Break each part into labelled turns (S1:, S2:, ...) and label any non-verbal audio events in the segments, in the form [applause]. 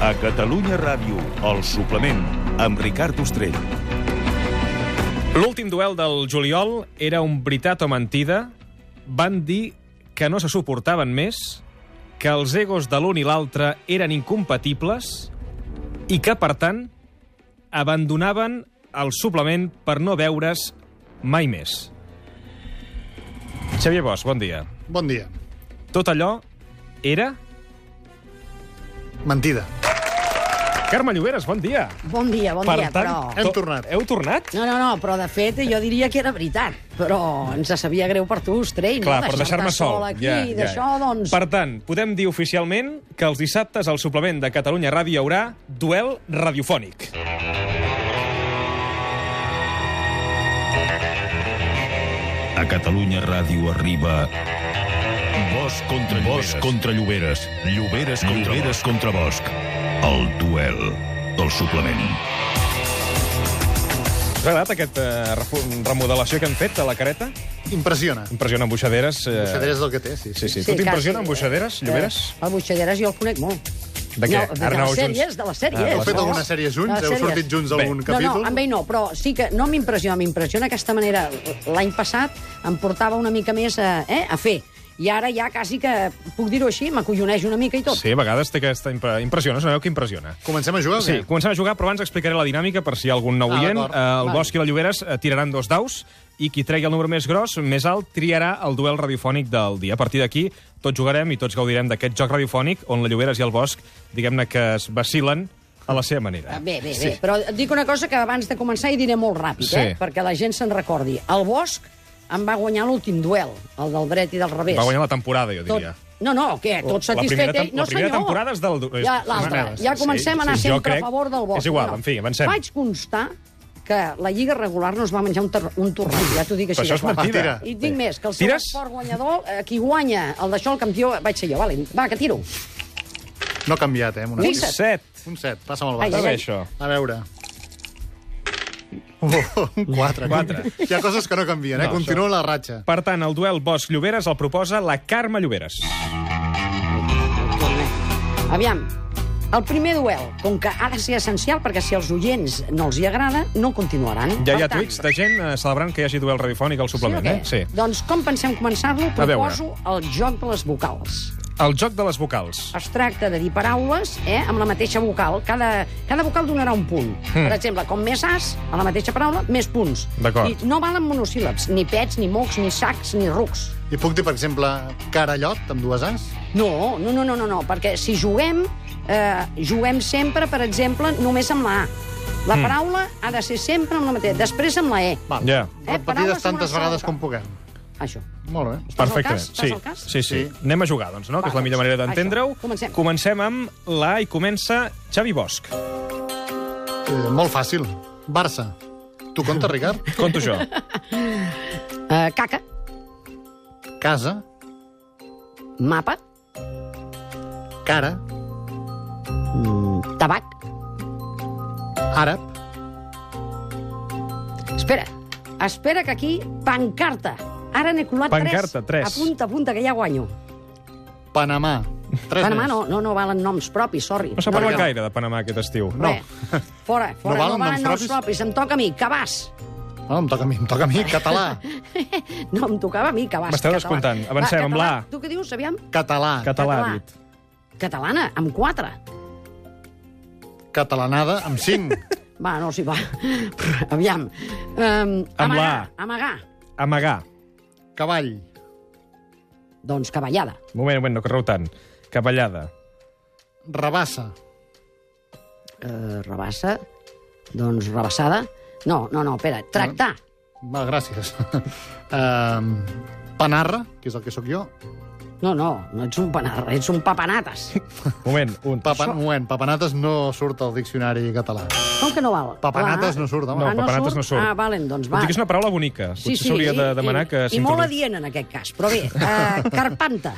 S1: a Catalunya Ràdio, el suplement, amb Ricard Ostrell.
S2: L'últim duel del juliol era un veritat o mentida. Van dir que no se suportaven més, que els egos de l'un i l'altre eren incompatibles i que, per tant, abandonaven el suplement per no veure's mai més. Xavier Bosch, bon dia.
S3: Bon dia.
S2: Tot allò era...
S3: Mentida.
S2: Carme Lloberes, bon dia.
S4: Bon dia, bon dia, però...
S3: Hem
S2: to-
S3: tornat.
S2: Heu tornat?
S4: No, no, no, però de fet jo diria que era veritat, però ens sabia greu per tu, Ostrell,
S2: Clar,
S4: no?
S2: per deixar-me sol.
S4: Aquí, ja, ja. D'això, doncs...
S2: Per tant, podem dir oficialment que els dissabtes al suplement de Catalunya Ràdio hi haurà duel radiofònic.
S1: A Catalunya Ràdio arriba... Bosch contra Bosch contra Lloberes. Lloberes contra, Lloberes contra Bosch. El duel del suplement.
S2: Us ha agradat aquesta eh, remodelació que hem fet de la careta?
S3: Impressiona.
S2: Impressiona amb Buixaderes. Eh...
S3: Buixader és el que té, sí.
S2: Sí, sí.
S4: Sí,
S2: sí tu
S4: quasi,
S2: t'impressiona amb
S4: eh?
S2: Buixaderes, Lloberes?
S4: Eh, el Buixaderes jo el conec molt.
S2: De què?
S4: No, de, de
S2: Arnau
S4: les
S2: Junts?
S4: sèries, de les sèries.
S2: Ah, de les
S3: Heu fet
S2: No.
S3: alguna sèrie junts?
S4: De les
S3: Heu
S4: sèries.
S3: sortit junts
S2: Bé.
S3: algun
S4: No, no,
S3: capítol?
S4: amb ell no, però sí que no m'impressiona, m'impressiona aquesta manera. L'any passat em portava una mica més a, eh, a fer, i ara ja quasi que, puc dir-ho així, m'acolloneix una mica i tot.
S2: Sí, a vegades té aquesta... impre- Impressiona, és una veu que impressiona.
S3: Comencem a jugar o
S2: Sí,
S3: què?
S2: comencem a jugar, però abans explicaré la dinàmica per si hi ha algun nou
S3: Ah,
S2: oient.
S3: d'acord.
S2: Eh, el
S4: Vale.
S2: Bosch i la Lloberes eh, tiraran dos daus i qui tregui el número més gros, més alt, triarà el duel radiofònic del dia. A partir d'aquí, tots jugarem i tots gaudirem d'aquest joc radiofònic on la Lloberes i el Bosch, diguem-ne que es vacilen a la seva manera.
S4: Ah, Bé, bé, bé. Però et dic una cosa que abans de començar hi diré molt ràpid,
S2: Sí.
S4: eh? perquè la gent se'n recordi. El Bosch em va guanyar l'últim duel, el del dret i del revés.
S2: Va guanyar la temporada, jo diria.
S4: Tot... No, no, què? Tot
S2: La primera
S4: satisfet?
S2: tem-
S4: ell? no,
S2: la primera
S4: senyor.
S2: temporada és del- és-
S4: Ja,
S2: és
S4: l'altra.
S2: Manuel.
S4: Ja
S2: Sí,
S4: comencem a anar
S2: sí, jo
S4: sempre
S2: crec-
S4: a favor del Bosch.
S2: és igual, en fi, avancem.
S4: Vaig constar que la Lliga regular no es va menjar un, ter... un torrent, ja t'ho dic
S2: Però
S4: així.
S2: això és
S4: de clar.
S2: mentida.
S4: I et dic més, que el seu
S2: Tires?
S4: esport guanyador, eh, qui guanya el d'això, el campió, vaig ser jo. Vale, va, que tiro.
S3: No ha canviat, eh? amb Una...
S4: Fixa't.
S2: Set.
S3: Un set. Passa'm el
S4: Ai,
S3: bas.
S4: ai,
S2: Està bé,
S4: ai.
S2: això.
S3: A veure. Oh, [laughs] un 4.
S2: Quatre.
S3: Hi ha coses que no canvien, eh?
S2: No,
S3: Continua la ratxa.
S2: Per tant, el duel Bosch-Lloberes el proposa la Carme Lloberes.
S4: Aviam, el primer duel, com que ha de ser essencial, perquè si als oients no els hi agrada, no continuaran.
S2: Ja hi ha
S4: Per tant,
S2: tuits de gent eh, celebrant que hi hagi duel radiofònic al suplement,
S4: sí, o
S2: eh?
S4: què?
S2: Sí.
S4: Doncs com pensem començar-lo?
S2: veure.
S4: Proposo el joc de les vocals.
S2: El joc de les vocals.
S4: Es tracta de dir paraules eh, amb la mateixa vocal. Cada, cada vocal donarà un punt.
S2: Hmm.
S4: Per exemple, com més as, a la mateixa paraula, més punts.
S2: D'acord.
S4: I no valen monosíl·labs, ni pets, ni mocs, ni sacs, ni rucs.
S3: I puc dir, per exemple, carallot, amb dues as?
S4: No, no, no, no, no, no perquè si juguem, eh, juguem sempre, per exemple, només amb la A. La mm. paraula ha de ser sempre amb la mateixa, després amb la E.
S3: Val.
S2: Ja.
S4: Eh,
S3: Repetides
S4: paraules
S3: tantes
S4: amb una
S3: vegades
S4: sola.
S3: com puguem.
S4: Això.
S3: Molt bé.
S2: Perfecte. Sí.
S4: Estàs al cas? Estàs al cas?
S2: sí, sí,
S3: Sí.
S2: Anem a jugar, doncs, no? que és la
S4: Va,
S2: millor
S4: doncs,
S2: manera d'entendre-ho.
S4: això. Comencem.
S2: Comencem amb la A i comença Xavi Bosch.
S3: Eh, molt fàcil. Barça. Tu comptes, Ricard?
S2: Conto jo.
S4: Eh, caca,
S3: Casa.
S4: mapa,
S3: Cara.
S4: mm, tabac...
S3: Àrab.
S4: Espera, espera que aquí, pancarta. Ara n'he colat
S2: Pancarta, tres.
S4: tres. Apunta, apunta, que ja guanyo.
S3: Panamà. Tres
S4: Panamà
S3: més.
S4: no, no, no valen noms propis, sorry. [laughs]
S2: No s'ha parlat
S3: no.
S2: gaire de Panamà aquest estiu.
S3: No.
S4: Re. Fora, fora, no valen, noms, propis? Em toca a mi, cabàs.
S3: No, Ah, em toca a mi, em toca a mi. Català.
S4: No, em tocava a mi, cabàs.
S2: M'esteu
S4: català.
S2: descomptant. Avancem
S4: Va,
S2: amb
S4: català.
S2: la A.
S4: Tu què dius, aviam?
S3: Català.
S2: Català,
S4: Català.
S2: ha dit.
S4: Catalana, amb quatre.
S3: Catalanada amb 5.
S4: Va, no, sí, va. [laughs] Aviam. Um,
S2: Amb la
S4: amagar, amagar.
S2: Amagar.
S3: Cavall.
S4: Doncs cavallada.
S2: Un moment, un moment, no correu tant. Capellada.
S3: Rabassa.
S4: Uh, rebassa. Doncs rebassada. No, no, no, espera. Tractar.
S3: Va, gràcies. Um, panarra, que és el que sóc jo.
S4: No, no, no ets un panarra, ets un papanates.
S2: Un moment, un.
S3: Papan... Un moment, papanates no surt al diccionari català.
S4: Com que no val?
S3: Papanates
S4: La-
S3: no surt, home.
S2: No, papanates no surt.
S4: Ah, valen, doncs va.
S2: Tot i que és una paraula bonica.
S4: Sí,
S2: Potser
S4: sí,
S2: s'hauria de
S4: i-
S2: demanar
S4: i,
S2: que
S4: I molt
S2: s'introdu-
S4: adient en aquest cas, però bé. Uh, carpanta.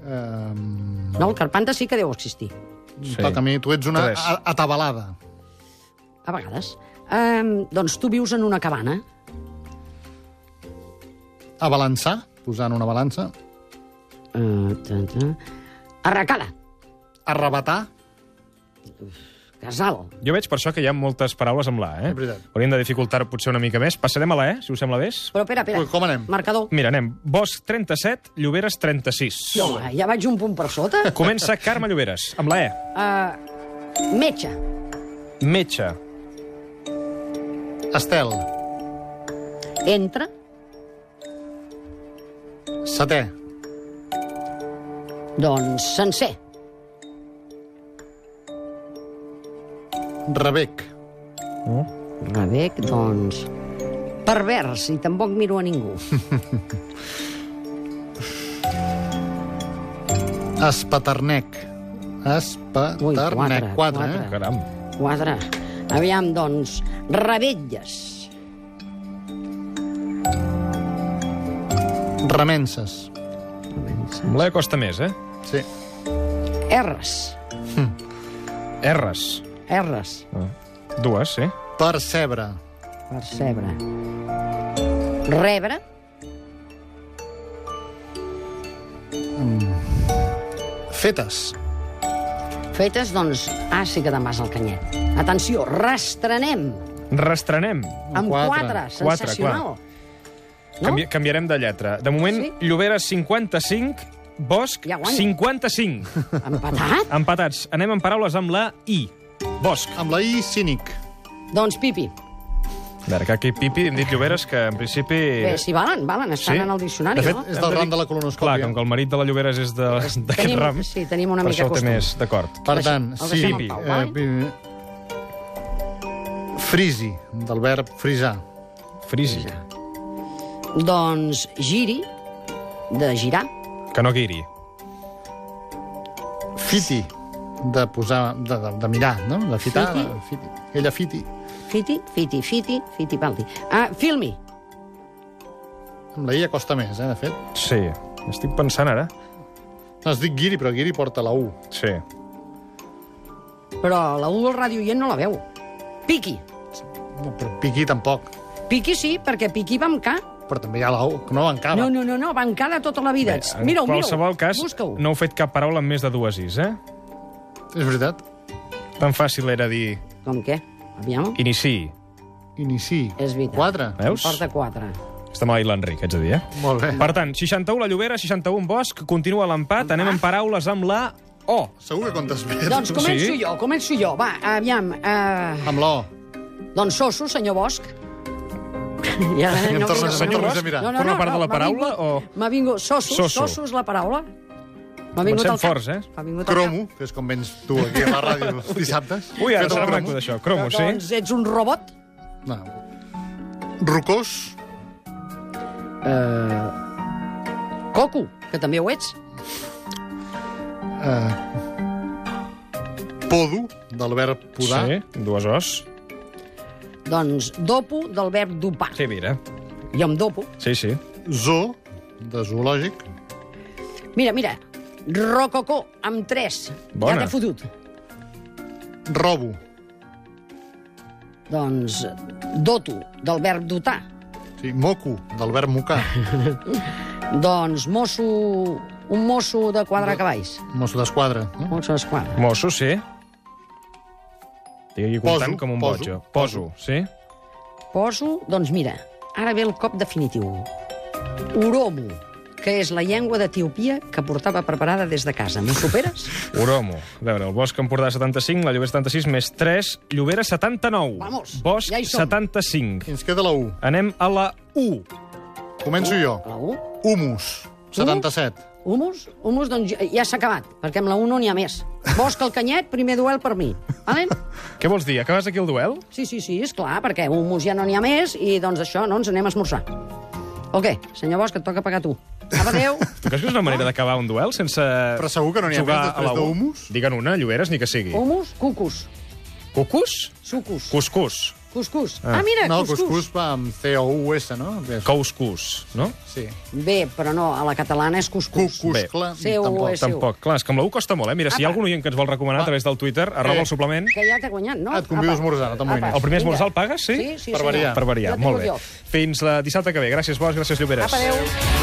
S3: Um,
S4: No, el carpanta sí que deu existir,
S3: sí. Toca a mi, tu ets una
S2: Tres.
S3: a- atabalada.
S4: a vegades. Um, doncs tu vius en una cabana.
S3: Abalançar, posant una balança.
S4: Uh, ta, ta. Eh, Arracada.
S3: Arrebatar,
S4: Casal.
S2: Jo veig per això que hi ha moltes paraules amb l'A, eh?
S3: És veritat.
S2: Hauríem de dificultar-ho potser una mica més. Passarem a la E, si us sembla bé.
S4: Però, espera, espera.
S3: Com anem?
S4: Marcador.
S2: Mira, anem. Bosch 37, Lloberes 36.
S4: Sí, home, ja vaig un punt per sota.
S2: Comença Carme Lloberes, amb la E.
S4: Uh, metge.
S2: Metge.
S3: Estel.
S4: Entra.
S3: Setè.
S4: Doncs sencer.
S3: Rebec.
S4: Rebec, doncs... Pervers, i tampoc miro a ningú.
S3: Espaternec. Espaternec.
S4: Ui, quatre,
S3: Quatre, eh?
S4: quatre.
S2: Caram.
S4: Quadre. Aviam, doncs, rebetlles.
S3: Remenses.
S2: Amb la E costa més, eh?
S3: Sí.
S4: Erres.
S2: R's.
S4: Erres.
S2: Ah. Dues, sí.
S3: Percebre.
S4: Percebre. Rebre.
S3: Fetes.
S4: Fetes, doncs, ah, sí que demà és el canyet. Atenció, rastrenem.
S2: Restrenem.
S4: Amb
S3: Quatre.
S4: quatre,
S2: Quatre,
S4: sensacional.
S2: No? Canvi canviarem de lletra. De moment,
S4: Sí.
S2: sí? Lloberes 55, Bosch
S4: Ja guanyo. [laughs]
S2: 55. [laughs]
S4: Empatat?
S2: Empatats. Anem amb paraules amb la I. Bosch.
S3: Amb la I, cínic.
S4: doncs, Pipi.
S2: A veure, que aquí Pipi hem dit Lloberes que en principi...
S4: Bé, si valen, valen, estan
S2: Sí.
S4: en el diccionari,
S2: De fet,
S4: no?
S2: Hem
S3: És del
S2: de dir-
S3: ram de la
S2: Clar,
S3: colonoscòpia.
S2: com que el marit de la Lloberes és de- d'aquest
S4: Tenim-
S2: ram,
S4: sí, tenim una
S2: per
S4: mica
S2: això ho té
S4: costum.
S2: més d'acord.
S3: Per tant,
S4: Deixem-
S3: sí.
S4: el deixem en
S2: Pipi.
S4: pau,
S3: Eh,
S4: vale?
S3: pi- frisi, del verb frisar.
S2: Frisi,
S4: Doncs giri, de girar,
S2: que no guiri.
S3: Fiti, de posar, de, de, de mirar, no? De fitar.
S4: Fiti.
S3: de- Fiti. Ella fiti,
S4: fiti, fiti, fiti, fiti, paldi. Ah, filmi,
S3: amb la I costa més, eh, de fet.
S2: Sí, estic pensant ara.
S3: No, es dic guiri, però guiri porta la U.
S2: Sí.
S4: però la U del ràdio oient no la veu. Piqui.
S3: No, però piqui tampoc.
S4: Piqui sí, perquè Piqui va amb K.
S2: Ah,
S3: Però també hi ha la U, que no bancava.
S4: No, no, no, no, va amb K de tota la vida.
S2: En
S4: Mira-ho, mira-ho.
S2: qualsevol cas,
S4: Busca-ho.
S2: no heu fet cap paraula amb més de dues is, eh?
S3: És veritat.
S2: Tan fàcil era dir
S4: Com què? Aviam.
S2: iniciï.
S3: Inici.
S4: És veritat.
S3: Quatre.
S2: Veus?
S4: Porta 4.
S2: Està mal l'Enric, haig de dir, eh?
S3: Molt bé.
S2: Per tant, 61 la Llobera, 61 Bosch, continua l'empat, anem amb paraules amb la O.
S3: Segur que comptes bé.
S4: Doncs començo
S2: Sí?
S4: jo, començo jo. Va, aviam. Uh,
S3: Amb la O.
S4: doncs sosso, senyor Bosch. [laughs] Ja,
S3: Em tornes a-
S4: senyor
S3: em tornes a
S4: Bosch.
S3: mirar.
S2: Forma part de la
S4: m'ha
S2: paraula
S4: vingut-
S2: o-
S4: M'ha vingut... Sosso,
S2: Sosso.
S4: sosso, és la paraula. M'ha vingut
S2: Comencem
S4: al cap.
S2: forts, eh?
S4: M'ha vingut al cap.
S3: Cromo, que és com vens tu aquí a la ràdio els dissabtes.
S2: Ui, ara
S3: Fet
S2: serà
S3: el cromo.
S2: maco d'això. Cromo, sí?
S4: Doncs ets un robot.
S3: No. Rocós,
S4: Coco, que també ho ets.
S3: podo, del verb podar.
S2: Sí, dues Os.
S4: Doncs dopo del verb dopar.
S2: Sí, mira.
S4: Jo em dopo.
S2: Sí, sí.
S3: Zoo, de zoològic.
S4: Mira, mira, rococó, amb tres.
S2: Bona.
S4: Ja t'he fotut.
S3: Robo,
S4: Doncs doto, del verb dotar.
S3: sí, moco, del verb mocar.
S4: Doncs mosso... Un mosso de quadre cavalls.
S3: Mosso d'esquadra. No?
S4: Mosso d'esquadra.
S2: Mosso, sí. Estic aquí comptant
S3: Poso,
S2: com un
S3: poso,
S2: boig. jo. Poso, sí.
S4: Poso, doncs mira, ara ve el cop definitiu. Oromo, que és la llengua d'Etiopia que portava preparada des de casa. M'ho superes?
S2: Oromo. A veure, el Bosch Empordà 75, la Llobera 76, més 3, Llobera 79.
S4: Vamos,
S2: Bosch
S4: ja hi som.
S2: 75.
S3: I ens queda la U.
S2: Anem a la U.
S3: Començo jo.
S4: [laughs] La U?
S3: Humus, 77.
S4: Humus? Humus, doncs ja- ja s'ha acabat, perquè amb la 1 no n'hi ha més. Bosch el canyet, primer duel per mi. [laughs] Vale?
S2: Què vols dir? Acabes aquí el duel?
S4: Sí, sí, sí, és clar, perquè humus ja no n'hi ha més i doncs això, no ens anem a esmorzar. O què? Senyor Bosch, et toca pagar tu. Apa, adéu. [laughs]
S2: Tu creus que és una manera d'acabar un duel sense...
S3: Però segur que no n'hi ha
S2: jugar
S3: més
S2: a
S3: després
S2: la U?
S3: d'humus?
S2: Digue'n una, Lloberes, ni que sigui.
S4: Humus, cucus,
S2: Cucús?
S4: sucus,
S2: Cuscús.
S4: cuscús. Ah, mira,
S3: No,
S4: cuscús.
S3: cuscús va amb C-O-U-S, no? Bé,
S2: Couscús, no?
S3: Sí.
S4: Bé, però no, a la catalana és cuscús.
S2: Bé.
S3: Cuscla,
S4: C-O-U-S.
S3: tampoc.
S4: Sí,
S2: Tampoc. Clar, és que amb la U costa molt, eh? Mira, si hi ha algun oient que ens vol recomanar a través del Twitter, arroba el suplement...
S4: Que ja t'ha guanyat, no?
S3: Ah, Et convido a esmorzar, no t'amoïnis.
S2: El primer
S4: vinga.
S2: esmorzar el pagues, sí?
S4: Sí, sí,
S3: Per
S4: senyor.
S3: variar.
S2: Per variar,
S4: Jo tinc
S2: molt bé.
S4: el guió.
S2: Fins la dissabte que ve. Gràcies, Bosch, gràcies, Lloberes.
S4: Apa, adéu.